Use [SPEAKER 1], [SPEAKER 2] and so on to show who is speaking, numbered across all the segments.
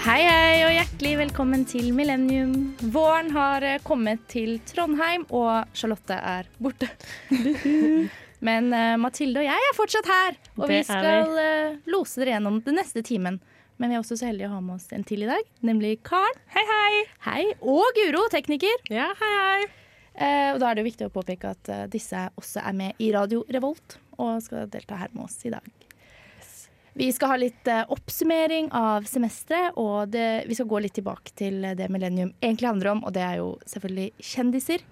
[SPEAKER 1] Hei, hei, og hjertelig velkommen til Millennium. Våren har eh, kommet til Trondheim, og Charlotte er borte. Men eh, Mathilde og jeg er fortsatt her, og vi
[SPEAKER 2] Det er vi.
[SPEAKER 1] skal eh, lose dere gjennom den neste timen. Men vi er også så heldige å ha med oss en til i dag, nemlig Karen.
[SPEAKER 2] Hei, hei!
[SPEAKER 1] Hei. Og Guro, tekniker.
[SPEAKER 2] Ja, hei, hei.
[SPEAKER 1] Eh, og da er det jo viktig å påpeke at eh, disse også er med i Radio Revolt og skal delta her med oss i dag. Vi skal ha litt eh, oppsummering av semesteret, og det, vi skal gå litt tilbake til det Millennium egentlig handler om, og det er jo selvfølgelig kjendiser.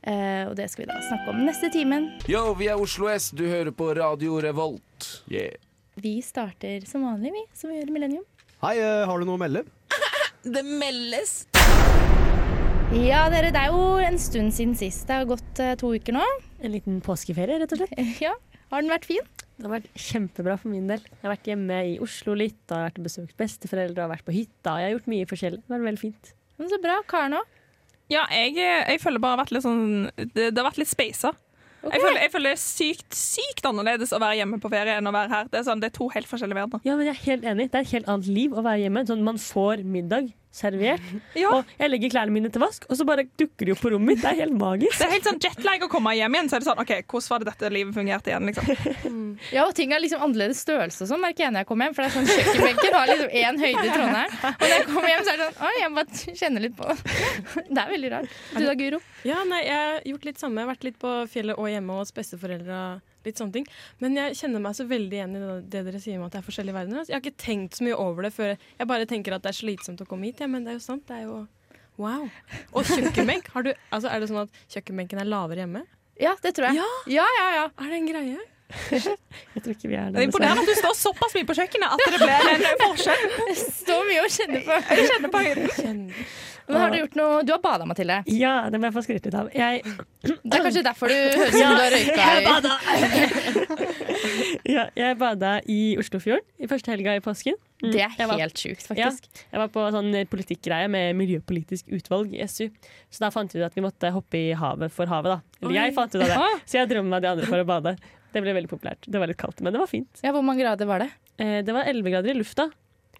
[SPEAKER 1] Eh, og det skal vi da snakke om neste timen.
[SPEAKER 3] Yo, vi er Oslo S. Du hører på Radio Revolt. Yeah.
[SPEAKER 1] Vi starter som vanlig, vi, som vi gjør i Millennium.
[SPEAKER 4] Hei, eh, har du noe å melde?
[SPEAKER 5] Det meldes.
[SPEAKER 1] Ja, dere, det er jo en stund siden sist. Det har gått eh, to uker nå.
[SPEAKER 2] En liten påskeferie, rett og slett.
[SPEAKER 1] ja, Har den vært fin?
[SPEAKER 2] Det har vært kjempebra for min del. Jeg har vært hjemme i Oslo litt, og jeg har vært og besøkt besteforeldre og vært på hytta. Jeg har gjort mye forskjellig. Det har vært veldig fint.
[SPEAKER 1] Men Så bra. Karen òg.
[SPEAKER 5] Ja, jeg, jeg føler bare vært litt sånn Det, det har vært litt speisa. Jeg, føler, jeg føler det er sykt, sykt annerledes å være hjemme på ferie enn å være her. Det er, sånn, det er to helt forskjellige verdener.
[SPEAKER 2] Ja, men jeg er helt enig. Det er et helt annet liv å være hjemme. Sånn, man får middag servert,
[SPEAKER 5] Ja.
[SPEAKER 2] og jeg legger klærne mine til vask, og så bare dukker de opp på rommet mitt. Det er helt magisk.
[SPEAKER 5] Det er helt sånn jetlag å komme hjem igjen. Så er det sånn, ok, Hvordan var det dette livet fungerte igjen? liksom?
[SPEAKER 1] Ja, og ting har liksom annerledes størrelse og sånn, merker jeg når jeg kommer hjem. For det er sånn kjøkkenbenken har liksom én høyde i Trondheim. Og når jeg kommer hjem, så er det sånn Oi, jeg bare kjenner litt på det. Det er veldig rart. Du da, Guro?
[SPEAKER 6] Ja, nei, jeg har gjort litt samme. Jeg har vært litt på fjellet og hjemme hos besteforeldre. og Litt sånne ting. Men jeg kjenner meg så veldig igjen i det- det dere sier om at det er forskjellige verdener. Altså. Jeg har ikke tenkt så mye over det før. Jeg bare tenker at det er slitsomt å komme hit, ja, men det er jo sant. Det er jo wow. Og kjøkkenbenk. Har du, altså, er det sånn at kjøkkenbenken er lavere hjemme?
[SPEAKER 1] Ja, det tror jeg.
[SPEAKER 6] Ja.
[SPEAKER 1] ja, ja. ja.
[SPEAKER 6] Er det en greie?
[SPEAKER 2] Jeg tror ikke vi er
[SPEAKER 5] Det
[SPEAKER 2] der. dessverre.
[SPEAKER 5] er imponerende at du står såpass mye på kjøkkenet at det blir en forskjell.
[SPEAKER 1] Det står mye å kjenne på.
[SPEAKER 5] Jeg kjenner på høyden.
[SPEAKER 6] Kjenner.
[SPEAKER 1] Men har du gjort noe Du har bada, Mathilde.
[SPEAKER 2] Ja, det må jeg få skryte litt av. Jeg
[SPEAKER 1] Det er kanskje derfor du høres ut som du har røyka i
[SPEAKER 2] ja, jeg bada i Oslofjorden i første helga i påsken. Mm,
[SPEAKER 1] Det er
[SPEAKER 2] jeg var-
[SPEAKER 1] helt sjukt, faktisk.
[SPEAKER 2] Ja, jeg var på sånn politikkgreie med miljøpolitisk utvalg i SU. Så da fant vi ut at vi måtte hoppe i havet for havet, da. Eller jeg fant ut av det. Så jeg drømmer meg de andre for å bade. Det ble veldig populært. Det var litt kaldt, men det var fint.
[SPEAKER 1] Ja, Hvor mange grader var det?
[SPEAKER 2] Eh, Det var 11 grader i lufta,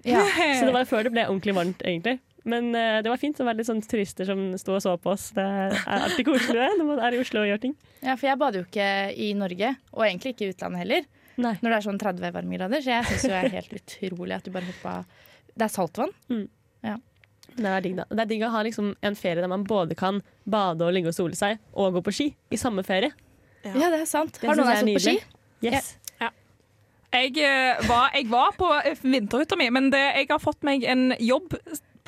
[SPEAKER 1] Ja.
[SPEAKER 2] så det Eh. var før det ble ordentlig varmt, egentlig. Men eh, det var fint. Det var litt sånn turister som sto og så på oss. Det er alltid koselig det, når man er i Oslo og gjør ting.
[SPEAKER 1] ja, for jeg bader jo ikke i Norge, og egentlig ikke i utlandet heller,
[SPEAKER 2] Nei.
[SPEAKER 1] når det er sånn 30 varmegrader. Så jeg syns jo det er helt utrolig at du bare hoppa Det er saltvann.
[SPEAKER 2] Det er digg, da. Det er digg å ha liksom en ferie der man både kan bade og ligge og sole seg, og gå på ski i samme ferie.
[SPEAKER 6] Ja.
[SPEAKER 1] Ja, det er sant.
[SPEAKER 2] Det
[SPEAKER 1] Har noen
[SPEAKER 2] synes
[SPEAKER 1] av dere
[SPEAKER 2] jeg er
[SPEAKER 1] stått på ski?
[SPEAKER 2] Yes.
[SPEAKER 5] Jeg, eh, var, jeg var på eh, vinterhytta mi, men det, jeg har fått meg en jobb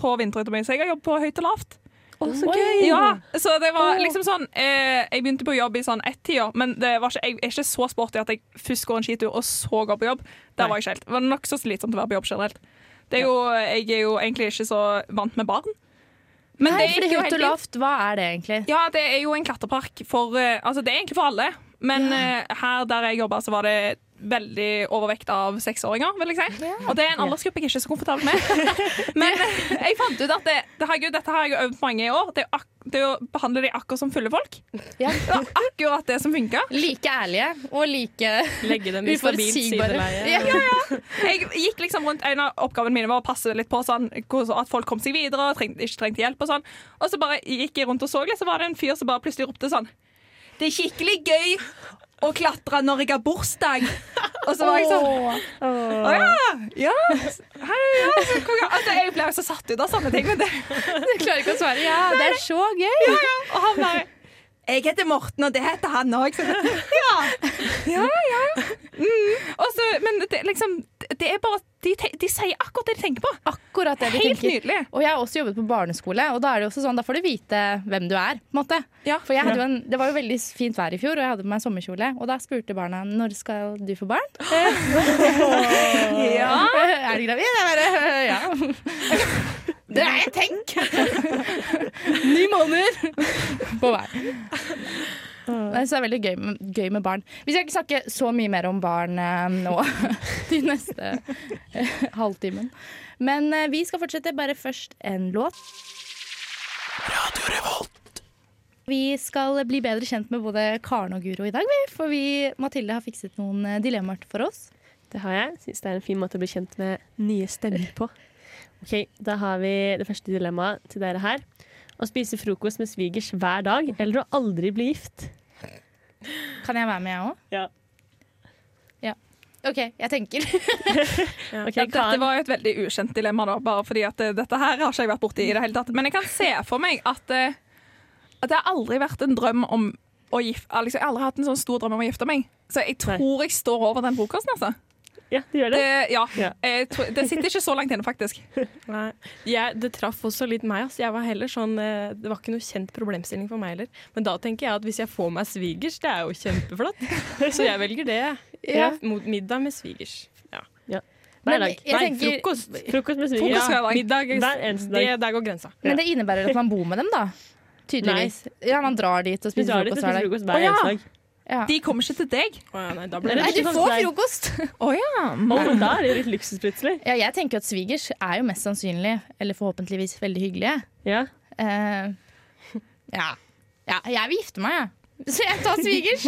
[SPEAKER 5] på vinterhytta mi, så jeg har jobb på høyt og lavt.
[SPEAKER 2] Å, så
[SPEAKER 1] Oi.
[SPEAKER 2] gøy!
[SPEAKER 5] Ja, så det var
[SPEAKER 2] Åh.
[SPEAKER 5] liksom sånn eh, Jeg begynte på jobb i sånn ett-tida, men det var ikke, jeg er ikke så sporty at jeg først går en skitur og så går på jobb. Der
[SPEAKER 2] Nei.
[SPEAKER 5] var jeg ikke helt. Det var nokså slitsomt å være på jobb generelt. Det er jo, jeg er jo egentlig ikke så vant med barn. Men
[SPEAKER 1] Nei,
[SPEAKER 5] det
[SPEAKER 1] fordi
[SPEAKER 5] gikk jo
[SPEAKER 1] høyt
[SPEAKER 5] helt
[SPEAKER 1] og
[SPEAKER 5] fint.
[SPEAKER 1] lavt, hva er det egentlig?
[SPEAKER 5] Ja, det er jo en klatrepark for eh, Altså, det er egentlig for alle, men eh, her der jeg jobba, så var det veldig overvekt av seksåringer, vil jeg si. Og det er en aldersgruppe jeg ikke er så komfortabel med. men eh, jeg fant ut at det, det har jeg, jo- dette har jeg jo øvd på mange år. Det er, jo ak det er å behandle de akkurat som fulle folk.
[SPEAKER 1] Ja.
[SPEAKER 5] Det var akkurat det som funka.
[SPEAKER 1] Like ærlige og like
[SPEAKER 6] Legge dem i stabilt
[SPEAKER 1] uforutsigbare.
[SPEAKER 6] sideleie.
[SPEAKER 1] Ja.
[SPEAKER 5] Jeg gikk liksom rundt En av oppgavene mine var å passe litt på sånn, hvor- at folk kom seg videre og trengte, ikke trengte hjelp. Og sånn Og så bare gikk jeg rundt og så litt, så var det en fyr som bare plutselig ropte sånn Det er skikkelig gøy å klatre når jeg har bursdag. Og så var jeg sånn
[SPEAKER 1] Åh.
[SPEAKER 5] Å ja! ja. Hei, ja. så kom jeg- Altså, jeg ble jo så satt ut av sånne ting. Men det,
[SPEAKER 1] Du klarer ikke å svare. Ja, det er så gøy!
[SPEAKER 5] og han bare Jeg heter Morten, og det heter han òg. Ja. ja, ja. Mm. Og så- men det, liksom, det er bare de, te- de sier akkurat det de tenker på.
[SPEAKER 1] Akkurat det de
[SPEAKER 5] Helt
[SPEAKER 1] tenker.
[SPEAKER 5] nydelig.
[SPEAKER 1] Og jeg har også jobbet på barneskole, og da er det jo også sånn, da får du vite hvem du er. på en måte.
[SPEAKER 5] Ja.
[SPEAKER 1] For jeg hadde jo en, Det var jo veldig fint vær i fjor, og jeg hadde på meg sommerkjole. Og da spurte barna når skal du få barn.
[SPEAKER 5] Ja.
[SPEAKER 1] Er du gravid? Jeg bare øh, ja. Det er jeg, tenk! Ni måneder på hver. Nei, Så det er veldig gøy, med- gøy med barn. Vi skal ikke snakke så mye mer om barn eh, nå de neste eh, halvtimen. Men eh, vi skal fortsette, bare først en låt. Vi skal bli bedre kjent med både Karen og Guro i dag, vi, for vi, Mathilde har fikset noen eh, dilemmaer for oss.
[SPEAKER 2] Det har jeg. Syns det er en fin måte å bli kjent med nye stemmer på. Ok, Da har vi det første dilemmaet til dere her. Å spise frokost med svigers hver dag, eller å aldri bli gift.
[SPEAKER 1] Kan jeg være med, jeg òg?
[SPEAKER 2] Ja.
[SPEAKER 1] Ja. OK, jeg tenker.
[SPEAKER 2] Ok,
[SPEAKER 5] Ja,
[SPEAKER 2] Karen.
[SPEAKER 5] dette var jo et veldig ukjent dilemma, da, bare fordi at eh, dette her har ikke jeg vært borti i det hele tatt. Men jeg kan se for meg at, eh, at det har aldri vært en drøm om å gifte liksom, Jeg har aldri hatt en sånn stor drøm om å gifte meg. Så jeg
[SPEAKER 2] Nei.
[SPEAKER 5] tror jeg står over den frokosten, altså.
[SPEAKER 2] Ja, du gjør det.
[SPEAKER 5] Det, ja,
[SPEAKER 2] Ja.
[SPEAKER 5] jeg tror, det sitter ikke så langt inne, faktisk.
[SPEAKER 6] Nei. Jeg, det traff også litt meg. ass. Jeg var heller sånn, eh, det var ikke noe kjent problemstilling for meg heller. Men da tenker jeg at hvis jeg får meg svigers, det er jo kjempeflott. Så jeg velger det.
[SPEAKER 1] Ja.
[SPEAKER 6] Mot middag med svigers. Ja.
[SPEAKER 2] Hver
[SPEAKER 1] Men
[SPEAKER 2] dag.
[SPEAKER 1] jeg
[SPEAKER 6] Nei,
[SPEAKER 1] tenker-
[SPEAKER 6] frokost.
[SPEAKER 2] Frokost med svigers.
[SPEAKER 5] Frokost
[SPEAKER 2] Ja.
[SPEAKER 5] hver dag.
[SPEAKER 6] Middag,
[SPEAKER 2] Hver eneste dag.
[SPEAKER 6] det, der går grensa.
[SPEAKER 1] Men det innebærer at man bor med dem, da. Tydeligvis. Ja, man drar dit og
[SPEAKER 2] Du
[SPEAKER 1] spiser
[SPEAKER 2] drar dit og
[SPEAKER 1] frokost hver
[SPEAKER 2] spiser
[SPEAKER 1] dag.
[SPEAKER 2] frokost
[SPEAKER 5] Å,
[SPEAKER 2] hver
[SPEAKER 5] ja.
[SPEAKER 2] eneste dag.
[SPEAKER 1] Ja.
[SPEAKER 5] De kommer ikke til deg.
[SPEAKER 6] Å ja, nei, da
[SPEAKER 2] Nei,
[SPEAKER 6] blir
[SPEAKER 1] Nei,
[SPEAKER 6] det
[SPEAKER 1] du
[SPEAKER 2] ikke sånn
[SPEAKER 1] får
[SPEAKER 2] der.
[SPEAKER 1] frokost!
[SPEAKER 5] Å ja.
[SPEAKER 2] Oh, da er det jo litt luksus plutselig.
[SPEAKER 1] Ja, jeg tenker at svigers er jo mest sannsynlig, eller forhåpentligvis, veldig hyggelige.
[SPEAKER 2] Ja.
[SPEAKER 1] Eh, ja. ja. Jeg vil gifte meg, jeg. Så jeg tar svigers.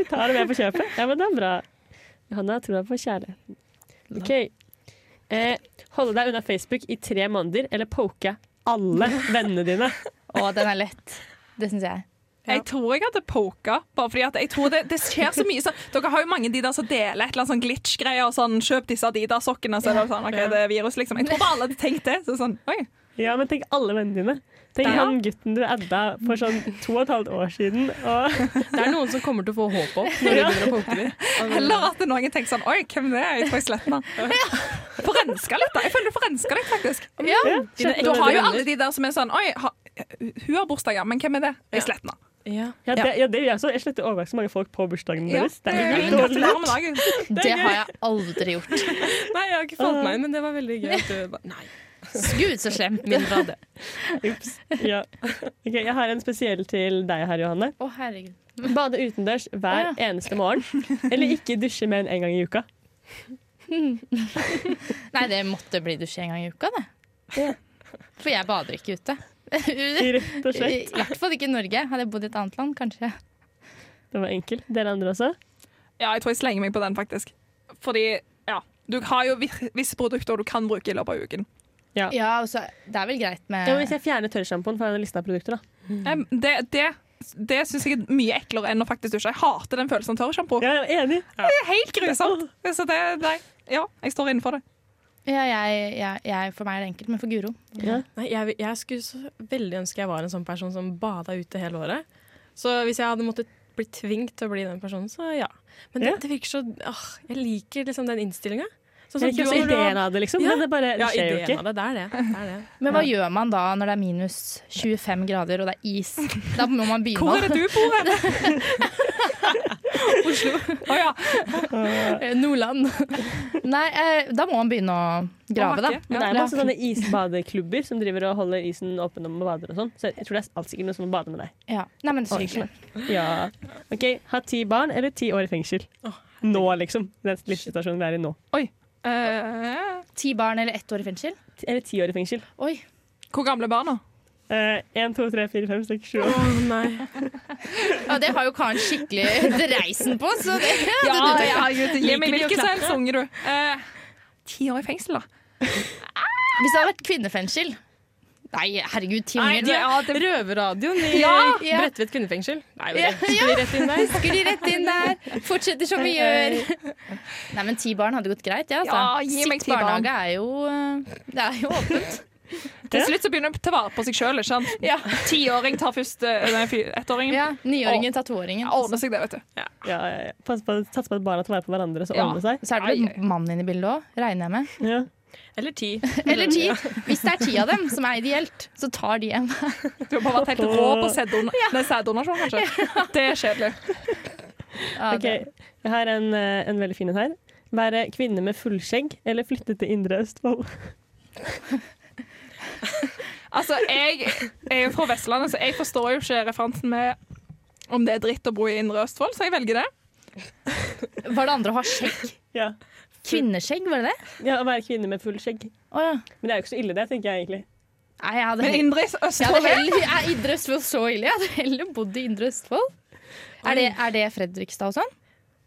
[SPEAKER 2] Vi tar det med på kjøpet. Ja, men det er bra. Johanna har troa på kjærligheten. OK. Eh, holde deg unna Facebook i tre måneder, eller poke alle vennene dine.
[SPEAKER 1] Å, den er lett. Det syns jeg.
[SPEAKER 5] Jeg tror jeg hadde poka, bare fordi at jeg tror det, det skjer så mye. Så, dere har jo mange de der som deler et eller annet sånn glitch-greier og sånn 'kjøp disse Adidas-sokkene', så er det sånn OK, det er virus, liksom. Jeg tror bare alle hadde tenkt det. Så sånn, oi.
[SPEAKER 2] Ja, men tenk alle vennene dine. Tenk
[SPEAKER 5] Ja.
[SPEAKER 2] han gutten du adda for sånn to og et halvt år siden. Og
[SPEAKER 6] Det er noen som kommer til å få håp opp når de
[SPEAKER 2] Ja.
[SPEAKER 6] begynner å poke dem.
[SPEAKER 5] Eller at noen tenker sånn Oi, hvem det er? Jeg tror jeg sletter den. Forrenska litt, da. Jeg føler du forrenska litt, faktisk.
[SPEAKER 1] Ja.
[SPEAKER 2] ja,
[SPEAKER 6] Dine
[SPEAKER 2] skjønner
[SPEAKER 5] Du har jo
[SPEAKER 6] venner.
[SPEAKER 5] alle de der som er sånn Oi, ha, hun har bursdag, ja, men hvem er det? Jeg sletter den.
[SPEAKER 6] Ja.
[SPEAKER 2] ja, det, ja, det gjør jeg også. Jeg sletter overraskende mange folk på bursdagen
[SPEAKER 5] Ja,
[SPEAKER 2] deres. Det er
[SPEAKER 5] det er-
[SPEAKER 2] helt dårlig.
[SPEAKER 5] Gratulerer med dagen.
[SPEAKER 1] Det har jeg aldri gjort.
[SPEAKER 6] Nei, jeg har ikke falt meg inn, men det var veldig gøy. At du, bare- nei,
[SPEAKER 1] Gud, så slemt.
[SPEAKER 6] mindre av det.
[SPEAKER 2] Ups. Ja. Ok, jeg har en spesiell til deg her, Johanne.
[SPEAKER 1] Å, herregud.
[SPEAKER 2] Bade utendørs hver
[SPEAKER 1] Å,
[SPEAKER 2] eneste morgen. Eller ikke dusje mer enn én gang i uka.
[SPEAKER 1] Nei, det måtte bli dusj en gang i uka, det. For jeg bader ikke ute. I
[SPEAKER 2] Rett og slett.
[SPEAKER 1] hvert fall ikke i Norge. Hadde jeg bodd i et annet land, kanskje.
[SPEAKER 2] Den var enkel. Dere andre også?
[SPEAKER 5] Ja, jeg tror jeg slenger meg på den, faktisk. Fordi, ja. Du har jo vir- visse produkter du kan bruke i løpet av uken.
[SPEAKER 1] Ja, og så Det er vel greit med
[SPEAKER 2] Ja, men hvis jeg fjerner tørrsjampoen fra den lista av produkter, da.
[SPEAKER 5] Em, Det, det, det syns jeg er mye eklere enn å faktisk dusje. Jeg hater den følelsen av tørrsjampo.
[SPEAKER 2] Ja, jeg er enig.
[SPEAKER 5] Det er helt grusomt. Så det, nei, ja, jeg står innenfor det.
[SPEAKER 1] Ja, jeg, jeg, jeg, For meg er det enkelt, men for Guro
[SPEAKER 2] Ja.
[SPEAKER 6] Nei, jeg, jeg skulle så veldig ønske jeg var en sånn person som bada ute hele året. Så hvis jeg hadde måttet bli tvingt til å bli den personen, så ja. Men det,
[SPEAKER 2] Ja.
[SPEAKER 6] det virker så åh, Jeg liker liksom den innstillinga. Sånn
[SPEAKER 2] Jeg liker
[SPEAKER 6] du
[SPEAKER 2] også
[SPEAKER 6] har-
[SPEAKER 2] ideen av det, liksom.
[SPEAKER 6] Ja.
[SPEAKER 2] Men det, bare, det
[SPEAKER 6] Ja,
[SPEAKER 2] skjer jo
[SPEAKER 6] ideen
[SPEAKER 2] ikke.
[SPEAKER 6] av det. Det er det. det, er det.
[SPEAKER 1] Men hva gjør man da når det er minus 25 grader og det er is? Da må man begynne
[SPEAKER 5] Hvor er det du bor hen?
[SPEAKER 1] Oslo.
[SPEAKER 5] Å ja.
[SPEAKER 1] Nordland. Nei, eh, da må man begynne å grave, da.
[SPEAKER 5] Å,
[SPEAKER 2] Men det er masse sånne isbadeklubber som driver og holder isen åpen når man bader og sånn. Så jeg tror det er alt sikkert noen som bader med deg.
[SPEAKER 1] Ja. Nei, men det er så hyggelig.
[SPEAKER 2] Ja. OK, ha ti barn eller ti år i fengsel. Nå, liksom. Den livssituasjonen vi er i nå.
[SPEAKER 5] Eh,
[SPEAKER 1] Ti barn eller ett år i fengsel?
[SPEAKER 2] Ti- Eller ti år i fengsel.
[SPEAKER 1] Oi.
[SPEAKER 5] hvor gamle er barna?
[SPEAKER 2] Én, Eh, to, tre, fire, fem, seks, sju. åtte.
[SPEAKER 6] Å nei.
[SPEAKER 1] Ja, det har jo Karen skikkelig dreisen på, så det hadde du tenkt.
[SPEAKER 5] Gi meg
[SPEAKER 6] liker de å
[SPEAKER 5] hvilken som helst unge, du. Eh, Ti år i fengsel, da.
[SPEAKER 1] Hvis det hadde vært kvinnefengsel Nei, herregud, ti
[SPEAKER 5] Nei,
[SPEAKER 1] unger.
[SPEAKER 5] ja, det,
[SPEAKER 6] Røverradioen i
[SPEAKER 5] Ja,
[SPEAKER 1] ja.
[SPEAKER 6] Bredtvet kvinnefengsel. Nei,
[SPEAKER 1] Ja,
[SPEAKER 6] bare skal vi rett inn der.
[SPEAKER 1] Sklir de rett inn der, fortsetter som vi gjør. Nei, men ti barn hadde gått greit, ja,
[SPEAKER 5] Ja,
[SPEAKER 1] altså.
[SPEAKER 5] gi meg
[SPEAKER 1] Sitt
[SPEAKER 5] ti barn.
[SPEAKER 1] barnehage er jo eh, Det er jo åpent.
[SPEAKER 5] til slutt så begynner de å ta vare på seg sjøl.
[SPEAKER 1] Ja.
[SPEAKER 5] Tiåring tar først eh, nei, fy- ettåringen.
[SPEAKER 1] Ja, Niåringen tar toåringen.
[SPEAKER 5] Ja,
[SPEAKER 1] og
[SPEAKER 5] Ordner seg det, vet du.
[SPEAKER 2] Ja, ja, ja. Pass på, sats på at barna tar vare på hverandre, så
[SPEAKER 5] Ja.
[SPEAKER 2] ordner det seg.
[SPEAKER 1] Så er det
[SPEAKER 5] Ai,
[SPEAKER 1] vel mannen inne i bildet òg, regner jeg med.
[SPEAKER 2] Ja.
[SPEAKER 6] Eller ti.
[SPEAKER 1] Eller ti. Hvis det er ti av dem som er ideelt, så tar de en.
[SPEAKER 5] Du har bare vært helt rå på sæddon- nei, sæddonasjon, kanskje. Det er kjedelig.
[SPEAKER 1] Ja,
[SPEAKER 2] Ok, Jeg har en, eh, en veldig fin en her. Være kvinne med fullskjegg eller flytte til Indre Østfold?
[SPEAKER 5] Altså, jeg er jo fra Vestlandet, så jeg forstår jo ikke referansen med om det er dritt å bo i Indre Østfold, så jeg velger det.
[SPEAKER 1] det- Var det andre å ha skjegg?
[SPEAKER 2] Ja.
[SPEAKER 1] Kvinneskjegg, var det det?
[SPEAKER 2] ja, Å være kvinne med fullskjegg.
[SPEAKER 1] Å ja.
[SPEAKER 2] Men det er jo ikke så ille, det, tenker jeg egentlig.
[SPEAKER 1] Nei, jeg hadde
[SPEAKER 5] Men
[SPEAKER 1] heller,
[SPEAKER 5] Indre
[SPEAKER 1] jeg hadde
[SPEAKER 5] Østfold er
[SPEAKER 1] heller er Indre Østfold så ille. Jeg hadde heller bodd i Indre Østfold. Er det, er det Fredrikstad og sånn?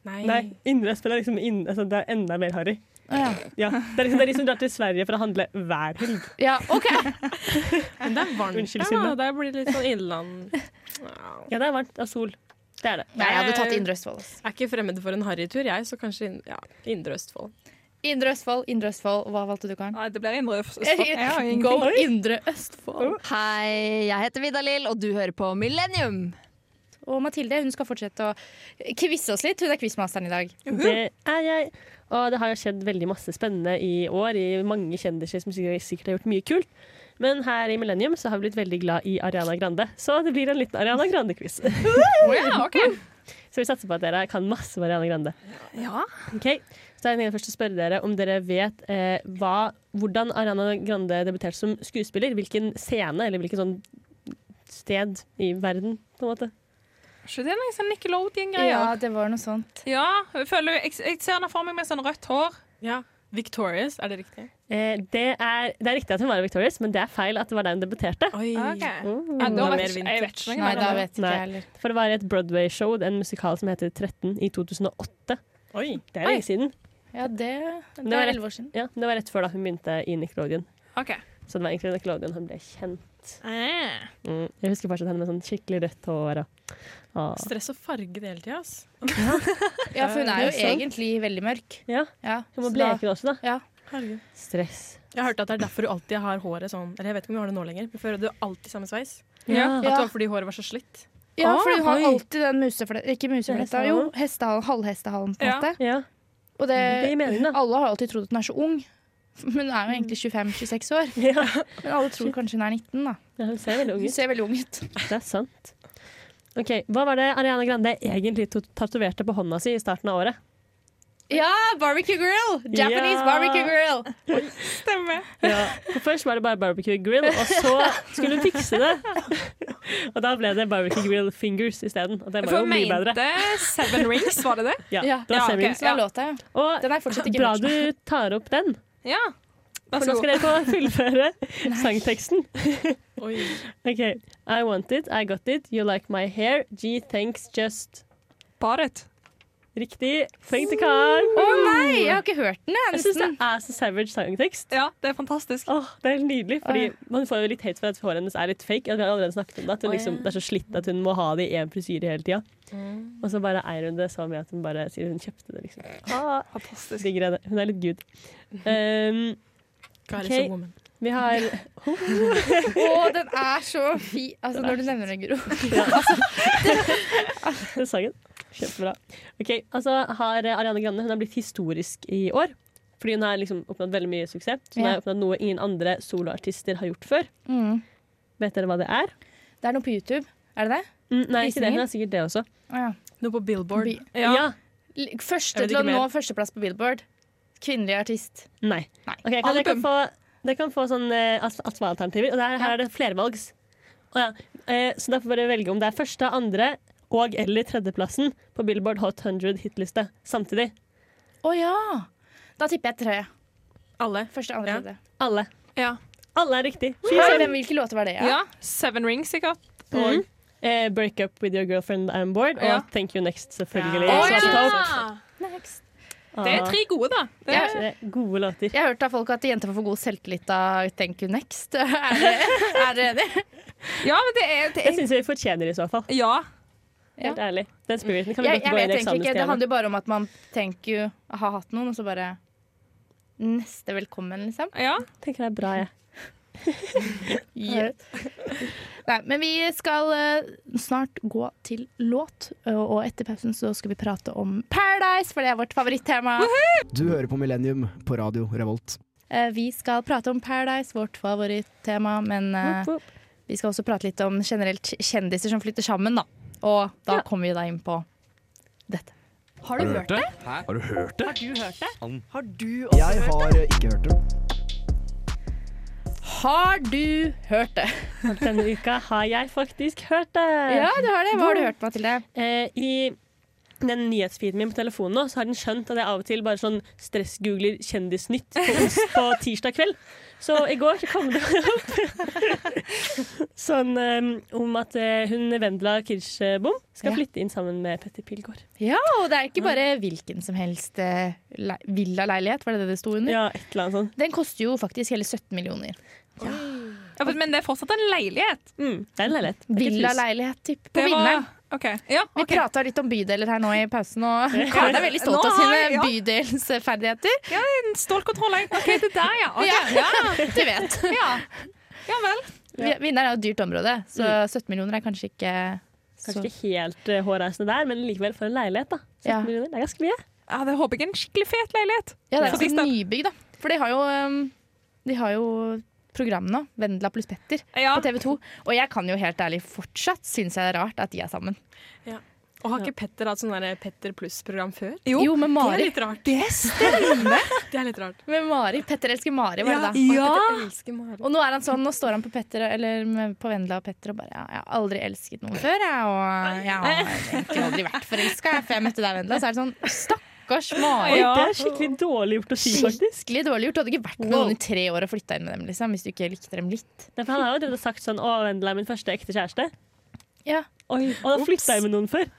[SPEAKER 6] Nei.
[SPEAKER 2] Nei, innrømtsspill er liksom inn, altså, det er enda mer harry.
[SPEAKER 1] Å, ja.
[SPEAKER 2] Ja. Det er liksom, det er liksom drar til Sverige for å handle hver helg.
[SPEAKER 1] ja, OK.
[SPEAKER 6] Men det er varmt
[SPEAKER 2] Unnskyld,
[SPEAKER 6] der, da.
[SPEAKER 2] Synne.
[SPEAKER 6] Der blir det litt sånn innland. Au.
[SPEAKER 2] Ja, det er varmt. Det er sol. Det er det.
[SPEAKER 1] Nei, jeg hadde tatt Indre Østfold. ass.
[SPEAKER 6] Jeg er ikke fremmed for en harrytur, jeg, så kanskje inn- ja, Indre Østfold.
[SPEAKER 1] Indre Østfold, Indre Østfold. Hva valgte du, Karen?
[SPEAKER 5] Nei, det blir indre øst.
[SPEAKER 1] Go Indre Østfold.
[SPEAKER 4] Hei, jeg heter Vidar Lill, og du hører på Millennium.
[SPEAKER 1] Og Mathilde hun skal fortsette å kvisse oss litt. Hun er quizmasteren i dag.
[SPEAKER 2] Det er jeg. Og det har jo skjedd veldig masse spennende i år i mange kjendiser som sikkert sikkert har gjort mye kult. Men her i Millennium så har vi blitt veldig glad i Ariana Grande, så det blir en liten Ariana Grande-quiz.
[SPEAKER 5] Ja, ok.
[SPEAKER 2] Så vi satser på at dere kan masse om Ariana Grande.
[SPEAKER 5] Ja.
[SPEAKER 2] Ok, så jeg tenker først å spørre dere om dere vet eh, hva, hvordan Ariana Grande debuterte som skuespiller. Hvilken scene eller hvilken sånn sted i verden, på en måte.
[SPEAKER 5] Ikke det er noen sånn Nickelodeon-greier?
[SPEAKER 1] Ja, det var noe sånt.
[SPEAKER 5] Ja, jeg, føler, jeg, jeg ser henne for meg med sånn rødt hår.
[SPEAKER 6] Ja. Victorious, er det riktig?
[SPEAKER 2] Eh, det, er, det er riktig at hun var i Victorious, men det er feil at det var der hun debuterte.
[SPEAKER 6] Oi.
[SPEAKER 5] Ja, da
[SPEAKER 6] Enda
[SPEAKER 5] vet ikke,
[SPEAKER 6] mer
[SPEAKER 5] jeg vet
[SPEAKER 6] vintage.
[SPEAKER 5] ikke noe
[SPEAKER 1] Nei,
[SPEAKER 5] mer om
[SPEAKER 1] da
[SPEAKER 5] det.
[SPEAKER 1] vet ikke
[SPEAKER 2] Nei.
[SPEAKER 1] jeg heller.
[SPEAKER 2] For det var et Broadway-show, en musikal som heter 13 i 2008.
[SPEAKER 6] Oi.
[SPEAKER 2] Det er lenge siden.
[SPEAKER 1] Ja, det, det
[SPEAKER 2] var
[SPEAKER 1] er
[SPEAKER 2] rett.
[SPEAKER 1] elleve år siden.
[SPEAKER 2] Ja, det var rett før da hun begynte i Nickelodeon.
[SPEAKER 5] Ok.
[SPEAKER 2] Så det var egentlig Nickelodeon hun ble kjent.
[SPEAKER 5] Eh.
[SPEAKER 2] Mm. Jeg husker fortsatt henne med sånn skikkelig rødt hår. Og, og.
[SPEAKER 6] Stress og farge det hele tida, ass.
[SPEAKER 1] Ja, for hun er jo
[SPEAKER 2] Det er sant.
[SPEAKER 1] egentlig veldig mørk.
[SPEAKER 2] Ja,
[SPEAKER 1] Ja,
[SPEAKER 2] Hun
[SPEAKER 1] så
[SPEAKER 2] var
[SPEAKER 1] da-
[SPEAKER 2] blekere også, da.
[SPEAKER 1] Ja.
[SPEAKER 6] Herregud.
[SPEAKER 2] Stress.
[SPEAKER 6] Jeg har hørt at det er derfor du alltid har håret sånn. Eller jeg vet ikke om du har det nå lenger, men før hadde du alltid samme sveis.
[SPEAKER 2] Ja.
[SPEAKER 6] At det
[SPEAKER 1] Ja.
[SPEAKER 6] var fordi håret var så slitt.
[SPEAKER 1] Ja,
[SPEAKER 2] Ah,
[SPEAKER 1] for hun har
[SPEAKER 2] oi.
[SPEAKER 1] alltid den musefletta Ikke musefletta,
[SPEAKER 2] Hestehalen.
[SPEAKER 1] jo, hestehalen, halvhestehalen, på en
[SPEAKER 5] Ja.
[SPEAKER 1] måte.
[SPEAKER 2] ja.
[SPEAKER 1] Og
[SPEAKER 2] Det
[SPEAKER 1] det,
[SPEAKER 2] gir mening, da.
[SPEAKER 1] alle har alltid trodd at hun er så ung. Men hun er jo egentlig 25-26 år.
[SPEAKER 2] Ja.
[SPEAKER 1] Men alle tror kanskje hun er 19, da.
[SPEAKER 2] Ja, hun ser veldig ung
[SPEAKER 1] Hun
[SPEAKER 2] ut.
[SPEAKER 1] ser veldig ung ut.
[SPEAKER 2] Det er sant. Ok, Hva var det Ariana Grande egentlig to- tatoverte på hånda si i starten av året?
[SPEAKER 1] Ja, barbecue grill! Japanese
[SPEAKER 2] Ja.
[SPEAKER 1] barbecue grill.
[SPEAKER 5] Stemmer.
[SPEAKER 2] Ja. For først var det bare barbecue grill, og så skulle hun fikse det. Og da ble det barbecue grill fingers isteden. Og det var
[SPEAKER 5] For
[SPEAKER 2] jo
[SPEAKER 5] jeg
[SPEAKER 2] mye bedre.
[SPEAKER 5] mente Seven Rings, var det det?
[SPEAKER 2] Ja,
[SPEAKER 1] Ja.
[SPEAKER 2] det var
[SPEAKER 5] Ja,
[SPEAKER 2] Seven
[SPEAKER 5] ok.
[SPEAKER 2] Rings.
[SPEAKER 1] Så det er låta, ja.
[SPEAKER 2] Og
[SPEAKER 1] Den er fortsatt ikke
[SPEAKER 2] bra
[SPEAKER 1] hørt.
[SPEAKER 2] du tar opp den,
[SPEAKER 5] Ja. Vær
[SPEAKER 2] for
[SPEAKER 5] så
[SPEAKER 2] nå
[SPEAKER 5] god.
[SPEAKER 2] skal dere få fullføre sangteksten.
[SPEAKER 6] Oi.
[SPEAKER 2] Ok, I want it, I got it, you like my hair, G thanks just.
[SPEAKER 5] Badet.
[SPEAKER 2] Riktig. Poeng til Karen.
[SPEAKER 1] Å nei, jeg har ikke hørt den, jeg.
[SPEAKER 2] Jeg syns det
[SPEAKER 1] Nesten.
[SPEAKER 2] er så savage sangtekst.
[SPEAKER 5] Ja, det er fantastisk.
[SPEAKER 2] Åh, det er helt nydelig, fordi Man får jo litt hate for at håret hennes er litt fake. Jeg har allerede snakket om Det at hun
[SPEAKER 6] Å, ja.
[SPEAKER 2] liksom, det er så slitt at hun må ha det i én frisyre hele tida. Og så bare eier hun det så mye at hun bare sier hun kjøpte det. liksom ah,
[SPEAKER 5] Fantastisk.
[SPEAKER 2] digger henne. Hun er litt gud. Um,
[SPEAKER 6] God
[SPEAKER 2] Ok.
[SPEAKER 6] is a woman.
[SPEAKER 2] vi har
[SPEAKER 1] Å, den er så fin. Altså, når du nevner den, Gro.
[SPEAKER 2] Den sangen. Kjempebra. Ok, altså har eh, Ariane Grande hun har blitt historisk i år. Fordi hun har liksom oppnådd veldig mye suksess. Så Hun
[SPEAKER 1] Ja.
[SPEAKER 2] har oppnådd noe ingen andre soloartister har gjort før.
[SPEAKER 1] Mm.
[SPEAKER 2] Vet dere hva det er?
[SPEAKER 1] Det er noe på YouTube. Er det det?
[SPEAKER 2] Mm, nei, ikke det.
[SPEAKER 1] Visninger?
[SPEAKER 2] Hun har sikkert det også.
[SPEAKER 1] Å, ja.
[SPEAKER 6] Noe på Billboard.
[SPEAKER 1] Bi-
[SPEAKER 5] Ja.
[SPEAKER 1] L-
[SPEAKER 6] Jeg
[SPEAKER 1] Første
[SPEAKER 6] vet
[SPEAKER 1] til å
[SPEAKER 6] ikke
[SPEAKER 1] nå
[SPEAKER 6] mer.
[SPEAKER 1] førsteplass på Billboard. Kvinnelig artist.
[SPEAKER 2] Nei.
[SPEAKER 1] Nei.
[SPEAKER 2] Ok, jeg kan, jeg kan
[SPEAKER 5] Album.
[SPEAKER 2] få, dere kan få sånn eh, alt- alternativer. Og der, her er det flervalgs. Å ja. eh, så da får dere velge om det er første, andre og eller tredjeplassen på Billboard Hot 100 hitliste samtidig.
[SPEAKER 1] Å ja! Da tipper jeg tre.
[SPEAKER 6] Alle.
[SPEAKER 1] Første, andre,
[SPEAKER 6] Ja.
[SPEAKER 1] tredje.
[SPEAKER 2] Alle.
[SPEAKER 5] Ja.
[SPEAKER 2] Alle er riktig.
[SPEAKER 1] Hæ, hvem- Hvilke låter var det? Ja?
[SPEAKER 5] ja. Seven Rings, sikkert.
[SPEAKER 2] Og eh, Break Up With Your Girlfriend I'm Bored
[SPEAKER 5] Ja.
[SPEAKER 2] og Thank You Next, selvfølgelig.
[SPEAKER 6] Ja.
[SPEAKER 2] som
[SPEAKER 6] Å, ja.
[SPEAKER 2] skal ta opp.
[SPEAKER 1] Next.
[SPEAKER 5] Det er tre gode, da. Det
[SPEAKER 1] Ja.
[SPEAKER 5] er,
[SPEAKER 2] Ah. Det er Gode låter.
[SPEAKER 1] Jeg har hørt av folk at jenter får for god selvtillit av Thank You Next. Er det- er dere enig?
[SPEAKER 5] ja, men det er, det
[SPEAKER 2] Det
[SPEAKER 5] er
[SPEAKER 2] syns jeg vi fortjener i så fall.
[SPEAKER 5] Ja.
[SPEAKER 2] Helt ærlig. Den spiriten kan vi
[SPEAKER 1] Jeg,
[SPEAKER 2] godt
[SPEAKER 1] jeg
[SPEAKER 2] gå
[SPEAKER 1] vet
[SPEAKER 2] inn
[SPEAKER 1] egentlig
[SPEAKER 2] i
[SPEAKER 1] ikke. Det
[SPEAKER 2] eksamenstida
[SPEAKER 1] handler jo bare om at man Thank You har hatt noen, og så bare Neste velkommen, liksom.
[SPEAKER 5] ja.
[SPEAKER 2] Tenker det er bra, jeg.
[SPEAKER 1] Ja. Nei, men vi skal eh, snart gå til låt, og og etter pausen så skal vi prate om Paradise, for det er vårt favorittema.
[SPEAKER 7] Du hører på Millennium på Radio Revolt.
[SPEAKER 1] Eh, Vi skal prate om Paradise, vårt favorittema, men eh,
[SPEAKER 2] Whoop, whoop.
[SPEAKER 1] vi skal også prate litt om generelt kjendiser som flytter sammen, da. Og da kommer vi da inn på dette.
[SPEAKER 4] Har du hørt det?
[SPEAKER 3] Har du hørt det?
[SPEAKER 7] Jeg har ikke hørt det.
[SPEAKER 1] Har du hørt det?
[SPEAKER 2] Denne uka har jeg faktisk hørt det.
[SPEAKER 1] Ja, du har det. Hva har du hørt, Mathilde?
[SPEAKER 2] Eh, I den nyhetsfeeden min på telefonen nå, så har den skjønt at jeg av og til bare sånn stressgoogler Kjendisnytt på, ons- på tirsdag kveld. Så i går så kom det opp sånn eh, om at eh, hun Vendela Kirsebom skal
[SPEAKER 1] Ja.
[SPEAKER 2] flytte inn sammen med Petter Pilgaard.
[SPEAKER 1] Ja, og det er ikke bare hvilken som helst eh, le- villaleilighet, var det det det sto under?
[SPEAKER 2] Ja, et eller annet sånt.
[SPEAKER 1] Den koster jo faktisk hele 17 millioner.
[SPEAKER 5] Ja, men- men det er fortsatt en leilighet.
[SPEAKER 2] Mm, det er en leilighet. Det er ikke et hus.
[SPEAKER 1] Villaleilighet, typ. På
[SPEAKER 5] Det var-
[SPEAKER 1] Vinneren.
[SPEAKER 5] OK. Ja,
[SPEAKER 1] Vi
[SPEAKER 5] ok.
[SPEAKER 1] prata litt om bydeler her nå i pausen, og Karen er veldig stolt
[SPEAKER 5] Nå
[SPEAKER 1] av
[SPEAKER 5] har-
[SPEAKER 1] sine
[SPEAKER 5] ja.
[SPEAKER 1] bydelsferdigheter.
[SPEAKER 5] En Stålkontroll. jeg. OK, det der, ja. Ok.
[SPEAKER 1] Ja, du vet.
[SPEAKER 5] ja. Ja vel.
[SPEAKER 1] Vi- Vinneren er jo et dyrt område, så
[SPEAKER 5] Mm.
[SPEAKER 1] 17 millioner er kanskje ikke så
[SPEAKER 2] Kanskje ikke helt eh, hårreisende der, men likevel for en leilighet, da. 17
[SPEAKER 1] altså. Ja.
[SPEAKER 2] millioner, det er ganske mye.
[SPEAKER 5] Ja, det håper jeg er en skikkelig fet leilighet.
[SPEAKER 1] Ja, det er
[SPEAKER 5] For
[SPEAKER 1] ganske
[SPEAKER 5] Kristian.
[SPEAKER 1] nybygg, da. For de har jo, um, de har jo program nå, Vendela pluss Petter,
[SPEAKER 5] Ja.
[SPEAKER 1] på TV 2. Og jeg kan jo helt ærlig fortsatt synes jeg det er rart at de er sammen.
[SPEAKER 6] Og har ikke Petter hatt sånn der Petter pluss-program før?
[SPEAKER 5] Jo,
[SPEAKER 1] Jo, med
[SPEAKER 6] Det er
[SPEAKER 1] Mari.
[SPEAKER 6] litt rart.
[SPEAKER 5] Det stemmer.
[SPEAKER 6] Det er litt rart.
[SPEAKER 1] Med Mari. Petter elsker Mari, var det da.
[SPEAKER 5] Ja.
[SPEAKER 6] Petter elsker Mari.
[SPEAKER 1] Og nå er han sånn, nå står han på, Petter, eller med- på Vendela og Petter og bare ja, 'Jeg har aldri elsket noen før, jeg, og jeg har egentlig aldri vært forelska jeg, før jeg møtte deg, Vendela.' Så er det sånn Stakkars Mari.
[SPEAKER 5] Ja.
[SPEAKER 2] Det er skikkelig dårlig gjort å si, faktisk.
[SPEAKER 1] Skikkelig dårlig gjort. Du hadde ikke vært med noen i tre år og flytta inn med dem liksom, hvis du ikke likte dem litt.
[SPEAKER 2] Derfor han har jo allerede sagt sånn 'Å, Vendela er min første ekte kjæreste'.
[SPEAKER 1] Ja,
[SPEAKER 2] Oi, og da flytta jeg med noen før.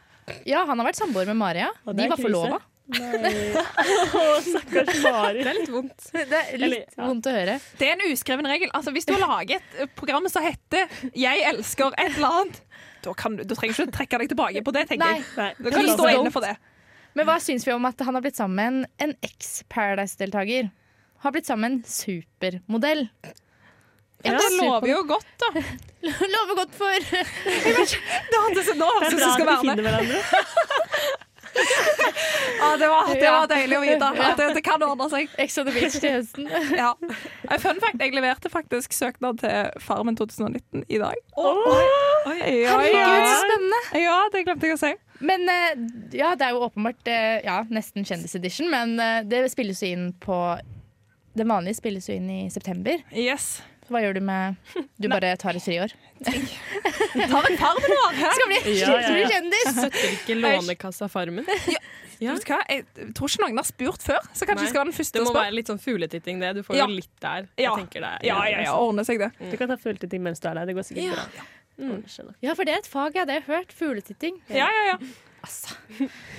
[SPEAKER 1] ja han har vært samboer med Maria.
[SPEAKER 2] Og
[SPEAKER 1] De
[SPEAKER 2] det er
[SPEAKER 1] var
[SPEAKER 2] krise.
[SPEAKER 1] forlova.
[SPEAKER 2] Å, stakkars Mari.
[SPEAKER 6] Det er litt vondt.
[SPEAKER 1] Det er
[SPEAKER 2] Eller,
[SPEAKER 1] litt
[SPEAKER 2] ja.
[SPEAKER 1] vondt å høre.
[SPEAKER 5] Det er en uskreven regel. Altså, hvis du har laget et eh, program som heter 'Jeg elsker et eller annet', da, kan du, da trenger du ikke trekke deg tilbake på det, tenker
[SPEAKER 1] Nei.
[SPEAKER 5] jeg.
[SPEAKER 2] Nei,
[SPEAKER 5] Da kan du
[SPEAKER 1] please
[SPEAKER 5] stå
[SPEAKER 1] don't.
[SPEAKER 5] inne for det.
[SPEAKER 1] Men hva syns vi om at han har blitt sammen med en eks-Paradise-deltaker? Har blitt sammen med en supermodell.
[SPEAKER 5] Ja, det lover jo godt, da.
[SPEAKER 1] Lover godt for
[SPEAKER 5] Det hørtes nå
[SPEAKER 2] Det er
[SPEAKER 5] høres ut
[SPEAKER 2] bra
[SPEAKER 5] som skal
[SPEAKER 2] at de
[SPEAKER 5] være med.
[SPEAKER 2] finner hverandre.
[SPEAKER 5] Ja, det, var, det
[SPEAKER 1] Ja.
[SPEAKER 5] var deilig å vite at det, det kan ordne seg.
[SPEAKER 1] Ex on the Beach til høsten.
[SPEAKER 5] Ja. Eh, Fun fact, jeg leverte faktisk søknad til Farmen 2019 i dag. Ja,
[SPEAKER 1] Herregud, så
[SPEAKER 5] ja.
[SPEAKER 1] spennende!
[SPEAKER 5] ja, det glemte jeg å si.
[SPEAKER 1] Men eh, ja, det er jo åpenbart eh, ja, nesten kjendisedition, men eh, det spilles jo inn på Det vanlige spilles jo inn i september.
[SPEAKER 5] Yes.
[SPEAKER 1] Så hva gjør du med Du bare tar et friår?
[SPEAKER 5] Jeg tar en Farmen år. Hæ?
[SPEAKER 1] Skal bli,
[SPEAKER 2] Ja, ja, ja.
[SPEAKER 1] skal bli kjendis!
[SPEAKER 6] Støtter ikke Lånekassa Farmen. Ja.
[SPEAKER 5] Vet du hva? Jeg tror ikke noen har spurt før, så kanskje
[SPEAKER 6] Nei.
[SPEAKER 5] jeg skal være den første
[SPEAKER 6] Det
[SPEAKER 5] å
[SPEAKER 6] må
[SPEAKER 5] spørre.
[SPEAKER 6] være litt sånn fugletitting, det. Du får
[SPEAKER 5] Ja.
[SPEAKER 6] jo litt der.
[SPEAKER 5] Ja.
[SPEAKER 6] Jeg tenker det er
[SPEAKER 5] Ja, ja, ja, ordner seg det.
[SPEAKER 2] Du kan ta fulltid mens du er der. Det går sikkert
[SPEAKER 6] Ja.
[SPEAKER 2] bra. Ordner seg nok.
[SPEAKER 1] Ja, for det er et fag jeg hadde hørt. Fugletitting.
[SPEAKER 5] Ja, ja, ja.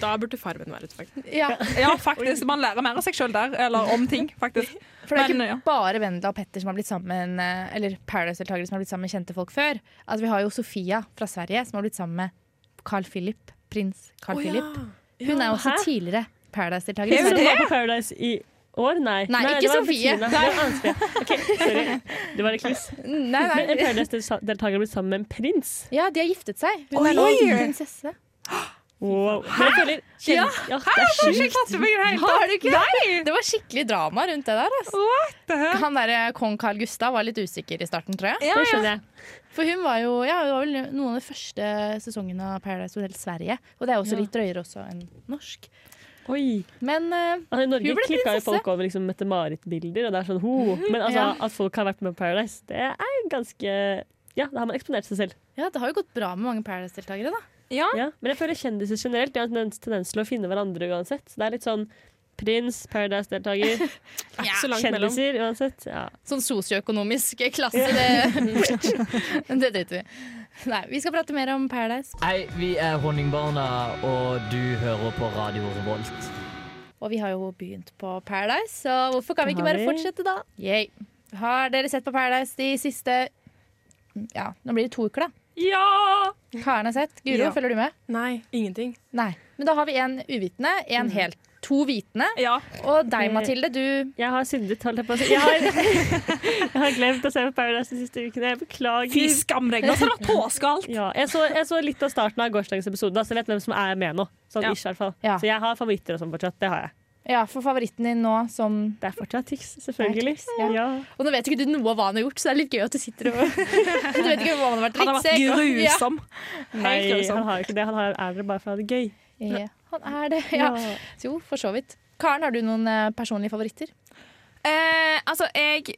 [SPEAKER 6] Da burde Farmen være ute, faktisk.
[SPEAKER 1] Ja,
[SPEAKER 5] Ja, faktisk. Man lærer mer av seg sjøl der, eller om ting, faktisk.
[SPEAKER 1] for det er
[SPEAKER 5] Men, ja.
[SPEAKER 1] ikke bare Vendela og Petter som har blitt sammen eh, Eller Paradise-deltakere som har blitt sammen med kjente folk før. Altså, vi har jo Sofia fra Sverige som har blitt sammen med Carl Philip. Prins Carl Philip. Hun er jo også
[SPEAKER 2] Hæ?
[SPEAKER 1] tidligere Paradise-deltaker. i
[SPEAKER 2] Hun
[SPEAKER 1] Sverige.
[SPEAKER 2] som var på Paradise i år? Nei.
[SPEAKER 1] Nei, ikke
[SPEAKER 2] det var
[SPEAKER 1] Sofie.
[SPEAKER 2] Bettina. Det var Ann-Sofie. OK, sorry. Det var et kliss.
[SPEAKER 1] Nei,
[SPEAKER 2] Men en
[SPEAKER 1] nei.
[SPEAKER 2] Paradise-deltaker har blitt sammen med en prins.
[SPEAKER 1] Ja, de har giftet seg. Hun
[SPEAKER 5] Oi!
[SPEAKER 1] er nå prinsesse.
[SPEAKER 2] Wow. Men jeg føler
[SPEAKER 1] Ja.
[SPEAKER 2] kjend- ja, det er sjukt.
[SPEAKER 1] Har du ikke? Det var skikkelig drama rundt det der. Altså. Han der, eh, Kong Carl Gustav var litt usikker i starten, tror jeg.
[SPEAKER 5] Ja,
[SPEAKER 2] Det
[SPEAKER 5] ja.
[SPEAKER 2] skjønner jeg.
[SPEAKER 1] For hun var jo ja, hun var vel noen av de første sesongene av Paradise Hotel Sverige. Og det er også
[SPEAKER 2] Ja.
[SPEAKER 1] litt drøyere også enn norsk.
[SPEAKER 2] Oi.
[SPEAKER 1] Men eh,
[SPEAKER 2] Altså, I Norge
[SPEAKER 1] Hun ble
[SPEAKER 2] klikka jo
[SPEAKER 1] prinsesse.
[SPEAKER 2] folk over liksom, Mette-Marit-bilder, og det er sånn ho. Men altså,
[SPEAKER 1] Ja.
[SPEAKER 2] at folk har vært med på Paradise, det er ganske Ja, da har man eksponert seg selv.
[SPEAKER 1] ja, det har jo gått bra med mange Paradise-deltakere, da.
[SPEAKER 2] Ja. Men jeg føler kjendiser generelt de har en tendens- tendens til å finne hverandre uansett. Så det er litt sånn prins, Paradise-deltaker,
[SPEAKER 6] Ikke så langt mellom.
[SPEAKER 2] kjendiser uansett. Ja.
[SPEAKER 1] Sånn sosioøkonomisk klasse, det, det driter vi i. Nei, vi skal prate mer om Paradise.
[SPEAKER 8] Hei, vi er Honningbarna, og du hører på Radio Revolt.
[SPEAKER 1] Og vi har jo begynt på Paradise, så hvorfor kan vi
[SPEAKER 2] Det
[SPEAKER 1] ikke
[SPEAKER 2] har
[SPEAKER 1] bare
[SPEAKER 2] vi.
[SPEAKER 1] fortsette da? Yay. Har dere sett på Paradise de siste Ja, nå blir det to uker, da. Karen har sett. Guro,
[SPEAKER 6] Ja.
[SPEAKER 1] følger du med?
[SPEAKER 6] Nei, ingenting.
[SPEAKER 1] Nei. Men da har vi en uvitende, en helt. To vitende.
[SPEAKER 5] Ja.
[SPEAKER 1] Og deg, Mathilde, du
[SPEAKER 2] Jeg har syndet, holdt jeg på å si. Jeg har, jeg har glemt å se på Paradise de siste ukene. Jeg
[SPEAKER 5] Fy
[SPEAKER 2] beklager.
[SPEAKER 5] skam deg, nå skal det være påske og alt.
[SPEAKER 2] Ja, jeg, så, jeg så litt av starten av gårsdagens episode, da, så jeg vet hvem som er med nå. Sånn,
[SPEAKER 5] Ja.
[SPEAKER 2] ish, i hvert fall.
[SPEAKER 1] Ja.
[SPEAKER 2] Så jeg har favoritter og sånn fortsatt. Det har jeg.
[SPEAKER 1] Ja, for favoritten din nå som
[SPEAKER 2] Det er fortsatt Tix, selvfølgelig.
[SPEAKER 1] Det er Tix, ja.
[SPEAKER 2] Ja.
[SPEAKER 1] Og nå vet ikke du noe av hva han har gjort, så det er litt gøy at du sitter og Du vet ikke hva han har vært
[SPEAKER 5] Han har vært
[SPEAKER 1] drittsekk, og- ja.
[SPEAKER 5] grusom.
[SPEAKER 2] Nei,
[SPEAKER 5] Helt grusom.
[SPEAKER 2] han har jo ikke det. Han har, er det bare for å ha det gøy.
[SPEAKER 1] Ja, han er det. Ja. Så Jo, for så vidt. Karen, har du noen eh, personlige favoritter?
[SPEAKER 5] Eh, altså, jeg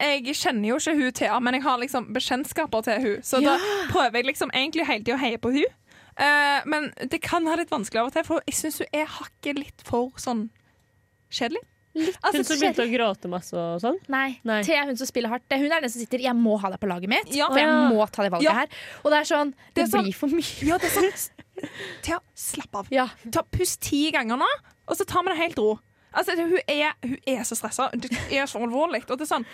[SPEAKER 5] jeg kjenner jo ikke hun Thea, men jeg har liksom bekjentskaper til hun Så da prøver jeg liksom egentlig hele tiden å heie på hun Eh, men det kan være litt vanskelig av og til, for jeg syns hun er hakket litt for sånn kjedelig.
[SPEAKER 1] Altså,
[SPEAKER 2] Hun som begynte å gråte masse og sånn.
[SPEAKER 1] Nei.
[SPEAKER 2] Nei.
[SPEAKER 1] Thea er hun som spiller hardt. Det er Hun er den som sitter 'jeg må ha deg på laget mitt',
[SPEAKER 5] Ja.
[SPEAKER 1] for jeg
[SPEAKER 2] Ja.
[SPEAKER 1] må ta det valget
[SPEAKER 5] Ja.
[SPEAKER 1] her. Og det er sånn Det,
[SPEAKER 5] Det er sånn-
[SPEAKER 1] blir for mye.
[SPEAKER 5] Ja, det er sant. Thea, slapp av.
[SPEAKER 1] Ja.
[SPEAKER 5] Ta, pust ti ganger nå, og så tar vi det helt ro. Altså, det- hun, er, hun er så stressa. Det er så alvorlig. Og det er sånn,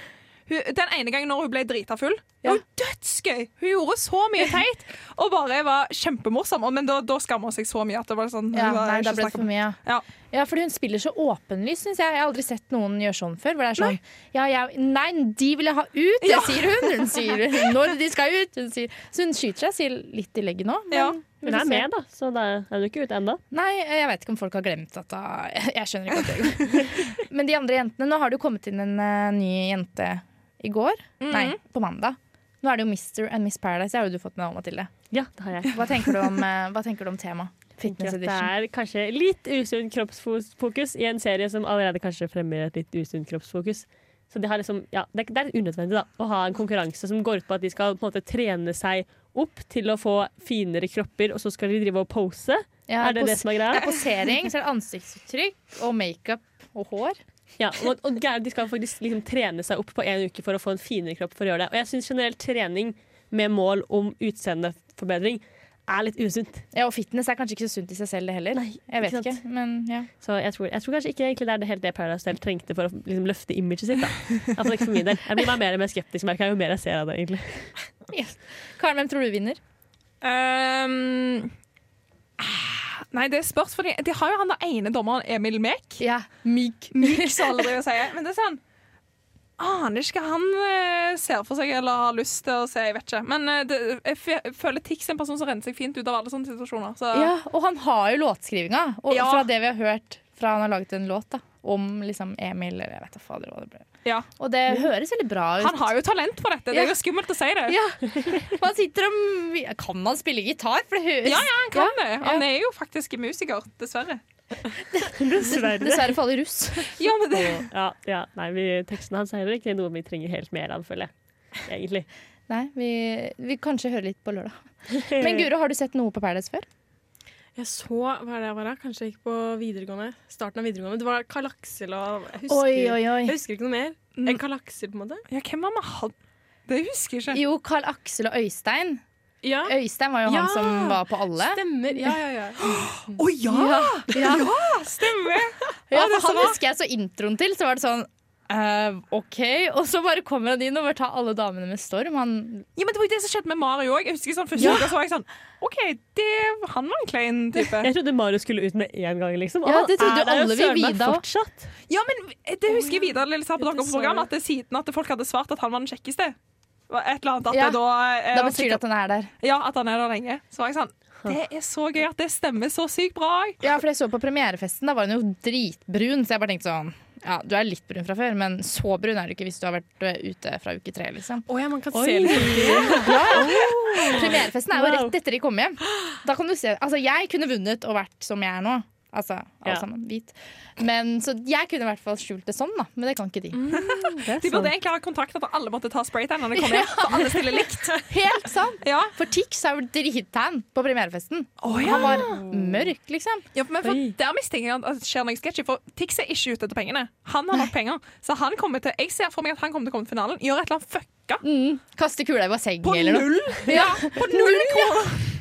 [SPEAKER 5] hun, den ene gangen når hun ble drita full, det var jo dødsgøy! Hun gjorde så mye teit og bare var kjempemorsom. Og- Men da, da skammer hun seg så mye at det var sånn
[SPEAKER 1] Ja,
[SPEAKER 5] hun var
[SPEAKER 1] nei,
[SPEAKER 5] ikke
[SPEAKER 1] da ble det
[SPEAKER 5] snakket
[SPEAKER 1] for
[SPEAKER 5] om.
[SPEAKER 1] mye.
[SPEAKER 5] Ja.
[SPEAKER 1] ja, fordi hun spiller så åpenlyst, syns jeg. Jeg har aldri sett noen gjøre sånn før. Hvor det er sånn ja, jeg, Nei, de vil jeg ha ut! Det
[SPEAKER 5] Ja.
[SPEAKER 1] sier hun. Hun sier når de skal ut. Hun sier, så hun skyter seg selv litt i leggen nå. Men
[SPEAKER 5] Ja.
[SPEAKER 1] vi
[SPEAKER 2] Hun
[SPEAKER 1] får
[SPEAKER 2] er
[SPEAKER 1] se.
[SPEAKER 2] med, da, så da er hun ikke ute ennå.
[SPEAKER 1] Nei, jeg vet ikke om folk har glemt at da, Jeg skjønner ikke at det går. Men de andre jentene Nå har det jo kommet inn en eh, ny jente i går.
[SPEAKER 2] Mhm.
[SPEAKER 1] Nei, på mandag. Nå er det jo Mr. and Miss Paradise. Det har jo du fått med deg, Mathilde.
[SPEAKER 2] Ja, det har jeg.
[SPEAKER 1] Hva tenker du om, eh, hva tenker du om temaet? Fitness
[SPEAKER 2] At det
[SPEAKER 1] edition.
[SPEAKER 2] er kanskje litt usunn kroppsfokus i en serie som allerede kanskje fremmer et litt usunn kroppsfokus. Så det, har liksom, ja, det, er, det er unødvendig da, å ha en konkurranse som går ut på at de skal på en måte trene seg opp til å få finere kropper, og så skal de drive og pose.
[SPEAKER 1] Ja,
[SPEAKER 2] er det det
[SPEAKER 1] pos-
[SPEAKER 2] som er
[SPEAKER 1] Det er
[SPEAKER 2] greia?
[SPEAKER 1] posering, så er det ansiktsuttrykk og makeup og hår.
[SPEAKER 2] Ja, og, og gæren, De skal faktisk liksom trene seg opp på en uke for å få en finere kropp. for å gjøre det. Og jeg syns generelt trening med mål om utseendeforbedring er litt usunt.
[SPEAKER 1] Ja, og fitness er kanskje ikke så sunt i seg selv det heller.
[SPEAKER 2] Nei,
[SPEAKER 1] jeg vet
[SPEAKER 2] ikke
[SPEAKER 1] ikke,
[SPEAKER 2] sant.
[SPEAKER 1] men ja.
[SPEAKER 2] Så jeg tror, jeg tror kanskje ikke egentlig det er det helt det Paradise Hotel trengte for å liksom løfte imaget sitt. da. Altså, ikke for min del. Jeg blir bare mer og mer skeptisk merker jeg, jo mer jeg ser av det. egentlig.
[SPEAKER 1] Karen, hvem tror du vinner?
[SPEAKER 5] Ehm, ah, Nei, det er spørs, for de har jo han der ene dommeren, Emil Mek.
[SPEAKER 1] Ja,
[SPEAKER 5] Myk. Myk, som alle driver og sier. Men det er sånn Aner ikke hva han eh, ser for seg eller har lyst til å se. Jeg vet ikke. Men eh, det, jeg f- jeg føler Tix er en person som renner seg fint ut av alle sånne situasjoner. Så.
[SPEAKER 1] ja og han har jo låtskrivinga, og
[SPEAKER 5] Ja.
[SPEAKER 1] fra det vi har hørt fra han har laget en låt da, om liksom Emil eller jeg vet da fader hva det ble.
[SPEAKER 5] Ja.
[SPEAKER 1] Og det høres veldig bra ut.
[SPEAKER 5] Han har jo talent for dette. Det
[SPEAKER 1] Ja.
[SPEAKER 5] er jo skummelt å si det.
[SPEAKER 1] Ja. Han sitter og Kan han spille gitar? For det høres
[SPEAKER 5] Ja, ja, han kan det. Han er jo faktisk musiker, dessverre.
[SPEAKER 2] Dessverre.
[SPEAKER 1] Dessverre faller russ.
[SPEAKER 5] Ja, men det
[SPEAKER 2] Ja, ja, nei, vi, Teksten hans er heller ikke noe vi trenger helt mer av, føler jeg. Egentlig.
[SPEAKER 1] Nei, vi, vi kanskje hører litt på lørdag. Men Guro, har du sett noe på Paradise før?
[SPEAKER 6] Jeg så hva er det jeg var da? Kanskje jeg gikk på videregående. Starten av videregående. Det var Karl Aksel og jeg husker,
[SPEAKER 1] oi.
[SPEAKER 6] jeg husker ikke noe mer. Enn Karl Aksel, på en måte.
[SPEAKER 5] Ja, hvem var med han? Det husker jeg ikke.
[SPEAKER 1] Jo, Carl Aksel og Øystein.
[SPEAKER 6] Ja,
[SPEAKER 1] Øystein var jo
[SPEAKER 6] Ja.
[SPEAKER 1] han som var på alle.
[SPEAKER 6] stemmer. Ja, ja, ja.
[SPEAKER 5] Å ja! Ja, stemmer!
[SPEAKER 1] Ja,
[SPEAKER 5] det er
[SPEAKER 1] for
[SPEAKER 5] så
[SPEAKER 1] han
[SPEAKER 5] bra.
[SPEAKER 1] husker jeg så introen til, så var det sånn «Eh, OK. Og så bare kommer han inn og bare tar alle damene med storm. Han,
[SPEAKER 5] Ja, men Det var jo det som skjedde med Mario òg. Jeg husker sånn første
[SPEAKER 1] Ja.
[SPEAKER 5] uka så var jeg sånn OK, det, han var en klein type.
[SPEAKER 2] Jeg trodde Mario skulle ut med en gang, liksom. Og
[SPEAKER 1] Ja,
[SPEAKER 2] han
[SPEAKER 1] det trodde
[SPEAKER 2] er der jo
[SPEAKER 1] alle vi
[SPEAKER 2] søren meg
[SPEAKER 1] vida.
[SPEAKER 2] fortsatt.
[SPEAKER 5] Ja, men det husker jeg Vidar Lille sa på
[SPEAKER 6] Ja, det
[SPEAKER 5] deres
[SPEAKER 6] så
[SPEAKER 5] program,
[SPEAKER 6] jeg.
[SPEAKER 5] at det, siden at folk hadde svart at han var den kjekkeste var et eller annet, at
[SPEAKER 1] Ja,
[SPEAKER 5] det da, eh,
[SPEAKER 1] da betyr
[SPEAKER 5] var
[SPEAKER 1] det
[SPEAKER 5] sikkert-
[SPEAKER 1] at han er der.
[SPEAKER 5] Ja, at han er der lenge. Så var jeg sånn Det er så gøy at det stemmer så sykt bra. jeg.
[SPEAKER 1] Ja, for jeg så på premierefesten, da var hun jo dritbrun, så jeg bare tenkte sånn ja, Du er litt brun fra før, men så brun er du ikke hvis du har vært eh, ute fra uke tre. liksom
[SPEAKER 6] Å ja, man kan
[SPEAKER 2] Oi.
[SPEAKER 6] se litt.
[SPEAKER 1] ja, ja. Premierefesten er jo
[SPEAKER 2] Wow.
[SPEAKER 1] rett etter de kom hjem. Da kan du se, altså, jeg kunne vunnet og vært som jeg er nå. Altså, alle
[SPEAKER 2] Ja.
[SPEAKER 1] sammen, hvit. Men, så jeg kunne i hvert fall skjult det sånn, da. men det kan ikke de.
[SPEAKER 5] De burde egentlig ha kontakt at alle måtte ta spraytan når de kom hjem, for alle stiller likt.
[SPEAKER 1] Helt sant!
[SPEAKER 5] Ja.
[SPEAKER 1] For Tix er jo drittan på premierefesten.
[SPEAKER 5] Oh,
[SPEAKER 1] Han var mørk, liksom.
[SPEAKER 5] Ja, men for
[SPEAKER 2] Oi.
[SPEAKER 5] Der mistenker jeg at det skjer noe sketchy, for Tix er ikke ute etter pengene. Han har nok penger. Så han kommer til, jeg ser for meg at han kommer til å komme til finalen, gjøre et eller annet fucka.
[SPEAKER 1] Mm. Kaste kula i bassenget
[SPEAKER 5] På
[SPEAKER 1] eller noe.
[SPEAKER 5] null! Ja, på null kroner!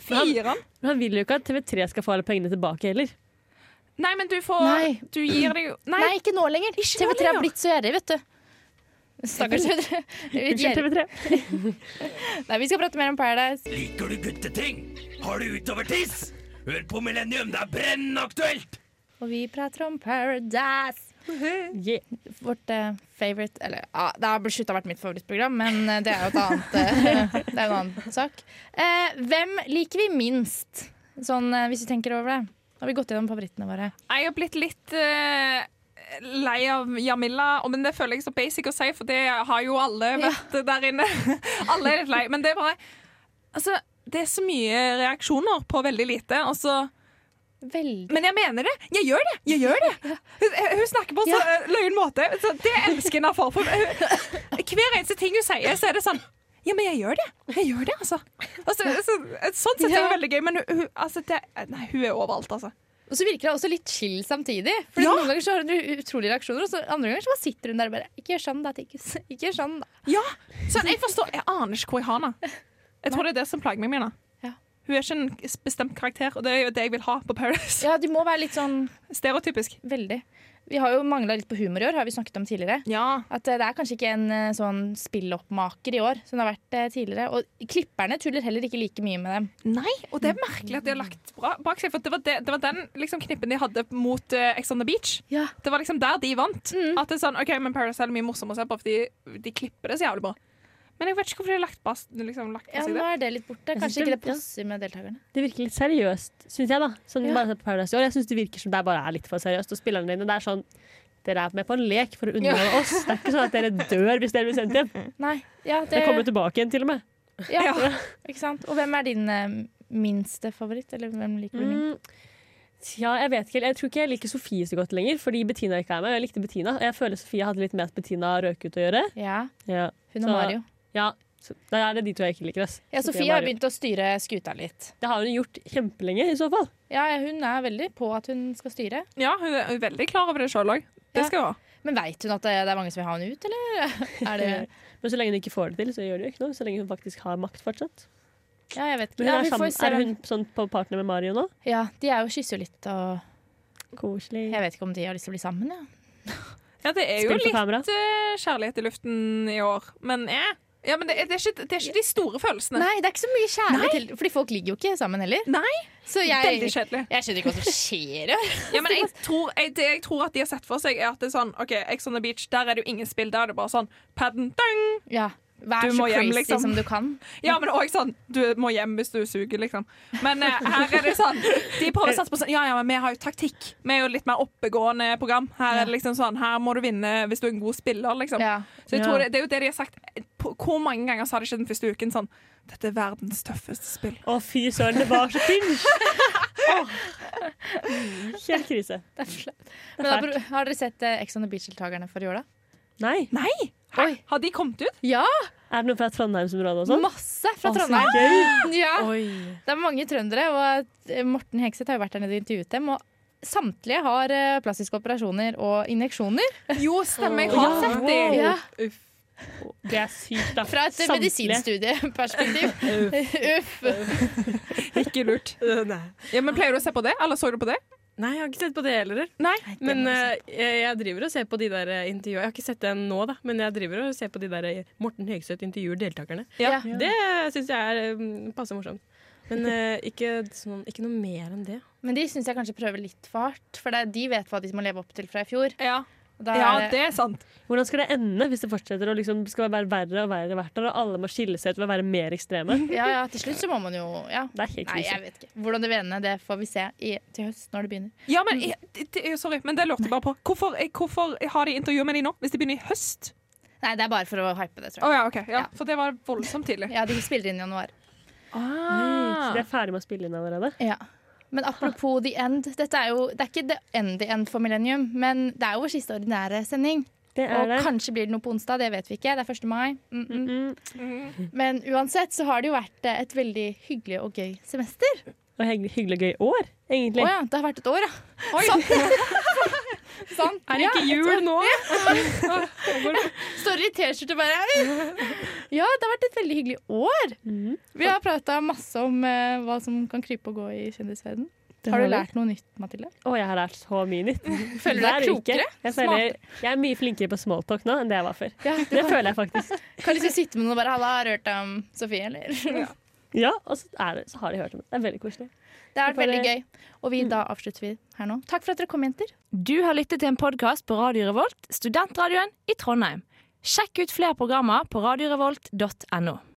[SPEAKER 5] Fireren.
[SPEAKER 2] Men han vil jo ikke at TV3 skal få alle pengene tilbake heller.
[SPEAKER 5] Nei, men du får
[SPEAKER 1] Nei.
[SPEAKER 5] Du gir deg jo Nei.
[SPEAKER 1] Nei, ikke nå lenger.
[SPEAKER 5] Ikke nå
[SPEAKER 1] TV3 har
[SPEAKER 5] lenger.
[SPEAKER 1] blitt så gjerrig, vet du. Stakkars TV3.
[SPEAKER 2] Unnskyld,
[SPEAKER 1] Gjerrig.
[SPEAKER 2] TV3.
[SPEAKER 1] Nei, vi skal prate mer om Paradise.
[SPEAKER 9] Liker du gutteting? Har du utovertiss? Hør på Millennium, det er brennende aktuelt!
[SPEAKER 1] Og vi prater om Paradise.
[SPEAKER 2] Yeah.
[SPEAKER 1] vårt eh, favorite Eller ja, det har slutta å være mitt favorittprogram, men eh, det er jo et annet, eh, det er jo en annen sak. Eh, hvem liker vi minst, sånn eh, hvis vi tenker over det? Da har vi gått gjennom favorittene våre.
[SPEAKER 5] Jeg har blitt litt eh, lei av Jamila, og- men det føler jeg så basic å si, for det har jo alle vært der inne. alle er litt lei, men det er bare Altså, det er så mye reaksjoner på veldig lite, og så
[SPEAKER 1] Veldig
[SPEAKER 5] Men jeg mener det! Jeg gjør det! Jeg gjør det! Hun, hun snakker på en så eh, løyen måte. Så det elsker jeg henne for. for hun, hver eneste ting hun sier, så er det sånn Ja, men jeg gjør det. Jeg gjør det, altså. altså så, sånn sett er det veldig gøy, men hun, hun- altså, det, nei, hun er overalt, altså.
[SPEAKER 1] Og så virker det også litt chill samtidig. For
[SPEAKER 5] Ja.
[SPEAKER 1] Noen ganger så har hun utrolige reaksjoner, og så andre ganger så bare sitter hun der og bare Ikke gjør sånn, da, Tikkis. Ikke gjør sånn, da.
[SPEAKER 5] Ja, sånn, jeg forstår Jeg aner ikke hvor jeg har henne. Jeg tror det er det som plager meg med henne.
[SPEAKER 1] Ja.
[SPEAKER 5] Hun er ikke en bestemt karakter, og det er jo det jeg vil ha på Paradise.
[SPEAKER 1] Ja, de må være litt sånn
[SPEAKER 5] Stereotypisk.
[SPEAKER 1] veldig. Vi har jo mangla litt på humor i år, har vi snakket om tidligere.
[SPEAKER 5] Ja.
[SPEAKER 1] At eh, det er kanskje ikke en eh, sånn spilloppmaker i år som det har vært eh, tidligere. Og klipperne tuller heller ikke like mye med dem.
[SPEAKER 5] Nei, og det er
[SPEAKER 1] Mm.
[SPEAKER 5] merkelig at de har lagt bra bak seg, for det var, det, det var den liksom, knippen de hadde mot eh, Ex on the Beach.
[SPEAKER 1] Ja.
[SPEAKER 5] Det var liksom der de vant.
[SPEAKER 1] Mm.
[SPEAKER 5] At det er sånn, ok, men Paradise er mye morsommere å se på, for de, de klipper det så jævlig bra. Men jeg vet ikke hvorfor de har lagt, bas, liksom, lagt på
[SPEAKER 1] Ja,
[SPEAKER 5] seg
[SPEAKER 1] nå
[SPEAKER 5] det.
[SPEAKER 1] er det litt borte.
[SPEAKER 2] Jeg
[SPEAKER 1] Kanskje
[SPEAKER 2] synes
[SPEAKER 1] ikke
[SPEAKER 2] det-
[SPEAKER 1] det passer med deltakerne.
[SPEAKER 2] Det virker litt seriøst, syns jeg. da Som
[SPEAKER 1] Ja.
[SPEAKER 2] bare ser på Paradise i år Jeg synes det virker som det bare er litt for seriøst. Og spillerne dine, det er sånn Dere er med på en lek for å underholde oss. Det er ikke sånn at dere dør hvis dere blir sendt hjem.
[SPEAKER 1] Nei, ja, det,
[SPEAKER 2] Dere kommer tilbake igjen, til og med.
[SPEAKER 1] ja, Ikke sant? Og hvem er din eh, minste favoritt? Eller hvem liker du minst?
[SPEAKER 2] Mm. Tja, jeg vet ikke. Jeg tror ikke jeg liker Sofie så godt lenger, fordi Bettina ikke er med. og Jeg likte Bettina, og jeg føler Sofie hadde litt med at Bettina røk ut å gjøre.
[SPEAKER 1] Ja,
[SPEAKER 2] Ja,
[SPEAKER 1] hun
[SPEAKER 2] Så-
[SPEAKER 1] og Mario.
[SPEAKER 2] ja. Så, Da er det de to jeg ikke liker. Ass.
[SPEAKER 1] Ja,
[SPEAKER 2] Sofie og
[SPEAKER 1] Sofie har
[SPEAKER 2] Mario.
[SPEAKER 1] begynt å styre skuta litt.
[SPEAKER 2] Det har hun gjort kjempelenge, i så fall.
[SPEAKER 1] Ja, Hun er veldig på at hun skal styre.
[SPEAKER 5] Ja, hun er, hun er veldig klar over det sjøl òg.
[SPEAKER 1] Ja.
[SPEAKER 5] Det skal hun ha.
[SPEAKER 1] Men veit hun at det det er mange som vil ha henne ut, eller? Er det
[SPEAKER 2] Men så lenge hun ikke får det til, så gjør det jo ikke noe. Så lenge hun faktisk har makt fortsatt.
[SPEAKER 1] Ja, jeg vet ikke.
[SPEAKER 2] Men hun
[SPEAKER 1] Ja,
[SPEAKER 2] er,
[SPEAKER 1] vi får
[SPEAKER 2] sammen,
[SPEAKER 1] se.
[SPEAKER 2] er
[SPEAKER 1] om-
[SPEAKER 2] hun sånn på partner med Mario nå?
[SPEAKER 1] Ja, de er jo kysser jo litt, og
[SPEAKER 2] Koselig.
[SPEAKER 1] jeg vet ikke om de har lyst til å bli sammen, ja.
[SPEAKER 5] Ja, det er jo
[SPEAKER 2] Spill for
[SPEAKER 5] litt
[SPEAKER 2] kamera.
[SPEAKER 5] eh, kjærlighet i luften i år, men eh. Ja, men det, er- det, er ikke, det er ikke de store følelsene.
[SPEAKER 1] Nei, det er ikke så mye kjærlighet til Fordi folk ligger jo ikke sammen heller.
[SPEAKER 5] Nei,
[SPEAKER 1] Så
[SPEAKER 5] Veldig
[SPEAKER 1] jeg,
[SPEAKER 5] kjedelig.
[SPEAKER 1] jeg skjønner ikke hva som skjer. ja.
[SPEAKER 5] Ja, men jeg tror, jeg, det jeg tror at de har sett for seg, er at det er sånn OK, Ex on the Beach, der er det jo ingen spill. Der er det bare sånn padden, dang!
[SPEAKER 1] Ja, Vær
[SPEAKER 5] Du
[SPEAKER 1] så
[SPEAKER 5] må hjem,
[SPEAKER 1] crazy
[SPEAKER 5] liksom.
[SPEAKER 1] som du kan.
[SPEAKER 5] Ja, men òg sånn Du må hjem hvis du suger, liksom. Men eh, her er det sånn De prøver å satse på sånn Ja, ja, men vi har jo taktikk. Vi er jo litt mer oppegående program. Her er det liksom sånn Her må du vinne hvis du er en god spiller, liksom.
[SPEAKER 1] Ja.
[SPEAKER 5] Så jeg
[SPEAKER 2] Ja.
[SPEAKER 5] tror det, det er jo det de har sagt. På, hvor mange ganger sa de ikke den første uken sånn Dette er verdens tøffeste spill.
[SPEAKER 2] Å, fy søren, det var så tynt! Åh. Helt krise.
[SPEAKER 1] Men da, har dere sett eh, Ex on the Beach-deltakerne for i år, da?
[SPEAKER 2] Nei.
[SPEAKER 5] Nei! Hæ?
[SPEAKER 1] Oi.
[SPEAKER 5] Har de kommet ut?
[SPEAKER 1] Ja,
[SPEAKER 2] Er det noen fra Trondheimsområdet også?
[SPEAKER 1] masse fra
[SPEAKER 2] Sånn? Å, så
[SPEAKER 1] Trondheim.
[SPEAKER 2] gøy.
[SPEAKER 1] Ja.
[SPEAKER 6] Oi.
[SPEAKER 1] Det er mange trøndere, og eh, Morten Hegseth har jo vært der nede og intervjuet dem. Og samtlige har eh, plastiske operasjoner og injeksjoner.
[SPEAKER 5] Jo, stemmer. Jeg
[SPEAKER 2] Ja.
[SPEAKER 5] har sett de.
[SPEAKER 1] Ja.
[SPEAKER 6] Uff.
[SPEAKER 2] Det er sykt, da.
[SPEAKER 1] Fra et eh,
[SPEAKER 2] Samtlige.
[SPEAKER 1] medisinstudieperspektiv. Uff.
[SPEAKER 5] Ikke lurt.
[SPEAKER 6] Øh, Nei.
[SPEAKER 5] Ja, men Pleier du å se på det? Eller så du på det?
[SPEAKER 6] Nei, jeg har ikke sett på det heller.
[SPEAKER 5] Nei.
[SPEAKER 6] Men eh, jeg, jeg driver og ser på de der eh, intervjuene. Jeg har ikke sett den nå, da, men jeg driver og ser på de der eh, Morten Høgseth intervjuer deltakerne.
[SPEAKER 1] Ja.
[SPEAKER 6] Det syns jeg er eh, passe morsomt. Men eh, ikke, sånn, ikke noe mer enn det.
[SPEAKER 1] Men de syns jeg kanskje prøver litt for hardt. For det, er- de vet hva de må leve opp til fra i fjor.
[SPEAKER 5] Ja.
[SPEAKER 1] Og Da
[SPEAKER 5] ja,
[SPEAKER 1] er det-
[SPEAKER 5] det er sant.
[SPEAKER 2] Hvordan skal det ende hvis det fortsetter å liksom skal være verre og verre hvert år, og alle må skille seg ut ved å være mer ekstreme?
[SPEAKER 1] ja, ja, til slutt så må man jo ja.
[SPEAKER 2] Det er helt
[SPEAKER 1] Nei,
[SPEAKER 2] krise.
[SPEAKER 1] jeg vet ikke. Hvordan det vil ende, det får vi se i, til høst, når det begynner.
[SPEAKER 5] Ja, men jeg, det- det- Sorry, men det lurte jeg bare på. Hvorfor, hvorfor har de intervju med de nå? Hvis de begynner i høst?
[SPEAKER 1] Nei, det er bare for å hype det,
[SPEAKER 5] Å
[SPEAKER 1] tror jeg.
[SPEAKER 5] ja, OK. Ja,
[SPEAKER 1] Ja.
[SPEAKER 5] For det var voldsomt tidlig.
[SPEAKER 1] Ja, de spiller inn i januar.
[SPEAKER 2] Mm, Så de
[SPEAKER 5] Ah.
[SPEAKER 2] er ferdig med å spille inn allerede?
[SPEAKER 1] Ja. Men apropos The End. Dette er jo, det er ikke The End The End for Millennium, men det er jo vår siste ordinære sending.
[SPEAKER 2] Det
[SPEAKER 1] Og
[SPEAKER 2] er det.
[SPEAKER 1] kanskje blir det noe på onsdag, det vet vi ikke. Det er 1. mai. Mm -mm.
[SPEAKER 2] Mm.
[SPEAKER 1] Men uansett så har det jo vært eh, et veldig hyggelig og gøy semester.
[SPEAKER 2] Og hygg- hyggelig og gøy år,
[SPEAKER 1] Å
[SPEAKER 2] egentlig.
[SPEAKER 1] ja, det har vært et år, ja.
[SPEAKER 5] Oi.
[SPEAKER 1] Sant.
[SPEAKER 6] Er det
[SPEAKER 1] Ja,
[SPEAKER 6] ikke jul nå?
[SPEAKER 1] står i T-skjorte bare. Ja, det har vært et veldig hyggelig år.
[SPEAKER 2] Mhm.
[SPEAKER 1] Vi har prata masse om eh, hva som kan krype og gå i kjendisverden.
[SPEAKER 2] Det
[SPEAKER 1] Har du
[SPEAKER 2] vi.
[SPEAKER 1] lært noe nytt, Mathilde?
[SPEAKER 2] Å, jeg har lært så mye nytt.
[SPEAKER 1] Føler du deg
[SPEAKER 2] Hver uke.
[SPEAKER 1] klokere?
[SPEAKER 2] Jeg, føler, jeg er mye flinkere på smalltalk nå enn det jeg var før.
[SPEAKER 1] Ja,
[SPEAKER 2] Det føler jeg faktisk.
[SPEAKER 1] Kan liksom sitte med noen og bare 'halla, har du hørt om Sofie', eller?
[SPEAKER 2] Ja, og så, er det, så har de hørt om det. Det er veldig koselig.
[SPEAKER 1] Det har vært
[SPEAKER 2] Bare-
[SPEAKER 1] veldig gøy. Og vi, da avslutter vi her nå. Takk for at dere kom, jenter.
[SPEAKER 10] Du har lyttet til en podkast på Radio Revolt, studentradioen i Trondheim. Sjekk ut flere programmer på radiorevolt.no.